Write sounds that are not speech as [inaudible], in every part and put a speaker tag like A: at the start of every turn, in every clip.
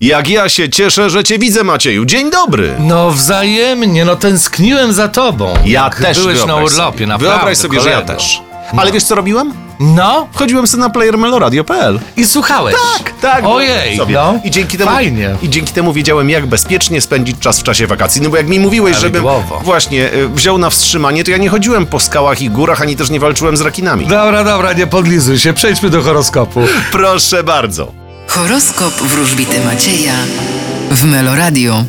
A: Jak ja się cieszę, że cię widzę, Macieju. Dzień dobry.
B: No wzajemnie, no tęskniłem za tobą.
A: Ja
B: Jak
A: też
B: byłeś na
A: wyobraź
B: urlopie,
A: sobie.
B: naprawdę.
A: Wyobraź sobie, że ja
B: kolego.
A: też. Ale wiesz, co robiłem?
B: No
A: Wchodziłem sobie na playermeloradio.pl.
B: i słuchałeś.
A: Tak,
B: Ojej,
A: sobie.
B: no.
A: I dzięki temu,
B: Fajnie.
A: I dzięki temu wiedziałem, jak bezpiecznie spędzić czas w czasie wakacji. No bo jak mi mówiłeś, żebym
B: Prawidłowo.
A: właśnie y, wziął na wstrzymanie, to ja nie chodziłem po skałach i górach, ani też nie walczyłem z rekinami.
B: Dobra, dobra, nie podlizuj się, przejdźmy do horoskopu.
A: Proszę bardzo.
C: Horoskop wróżbity Macieja w Meloradio.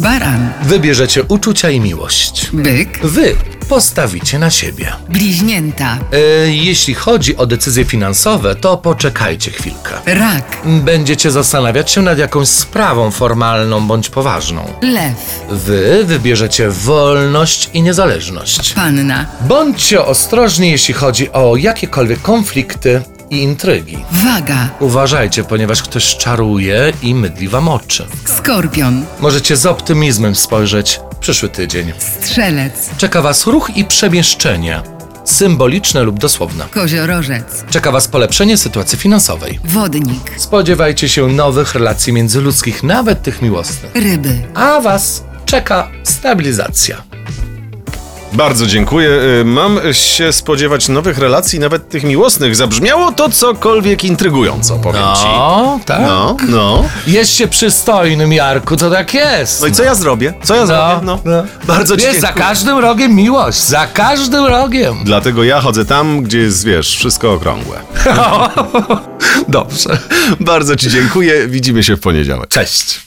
C: Baran,
B: Wybierzecie uczucia i miłość.
C: byk,
B: Wy postawicie na siebie.
C: bliźnięta,
B: E, jeśli chodzi o decyzje finansowe, to poczekajcie chwilkę.
C: rak,
B: Będziecie zastanawiać się nad jakąś sprawą formalną bądź poważną.
C: lew,
B: Wy wybierzecie wolność i niezależność.
C: panna,
B: Bądźcie ostrożni, jeśli chodzi o jakiekolwiek konflikty i intrygi.
C: waga,
B: Uważajcie, ponieważ ktoś czaruje i mydli wam oczy.
C: skorpion,
B: Możecie z optymizmem spojrzeć w przyszły tydzień.
C: strzelec,
B: Czeka was ruch i przemieszczenie, symboliczne lub dosłowne.
C: koziorożec,
B: Czeka was polepszenie sytuacji finansowej.
C: wodnik,
B: Spodziewajcie się nowych relacji międzyludzkich, nawet tych miłosnych.
C: ryby.
B: A was czeka stabilizacja.
A: Bardzo dziękuję. Y, Mam się spodziewać nowych relacji, nawet tych miłosnych. Zabrzmiało to cokolwiek intrygująco, powiem ci.
B: O, tak.
A: No, no.
B: Jesteście przystojnym, Jarku, to tak jest.
A: No i co ja zrobię? Co ja zrobię? No. Bardzo ci
B: Wiesz, za
A: dziękuję.
B: każdym rogiem miłość, za każdym rogiem.
A: Dlatego ja chodzę tam, gdzie jest, wiesz, wszystko okrągłe. [laughs]
B: Dobrze.
A: Bardzo ci dziękuję. Widzimy się w poniedziałek.
B: Cześć.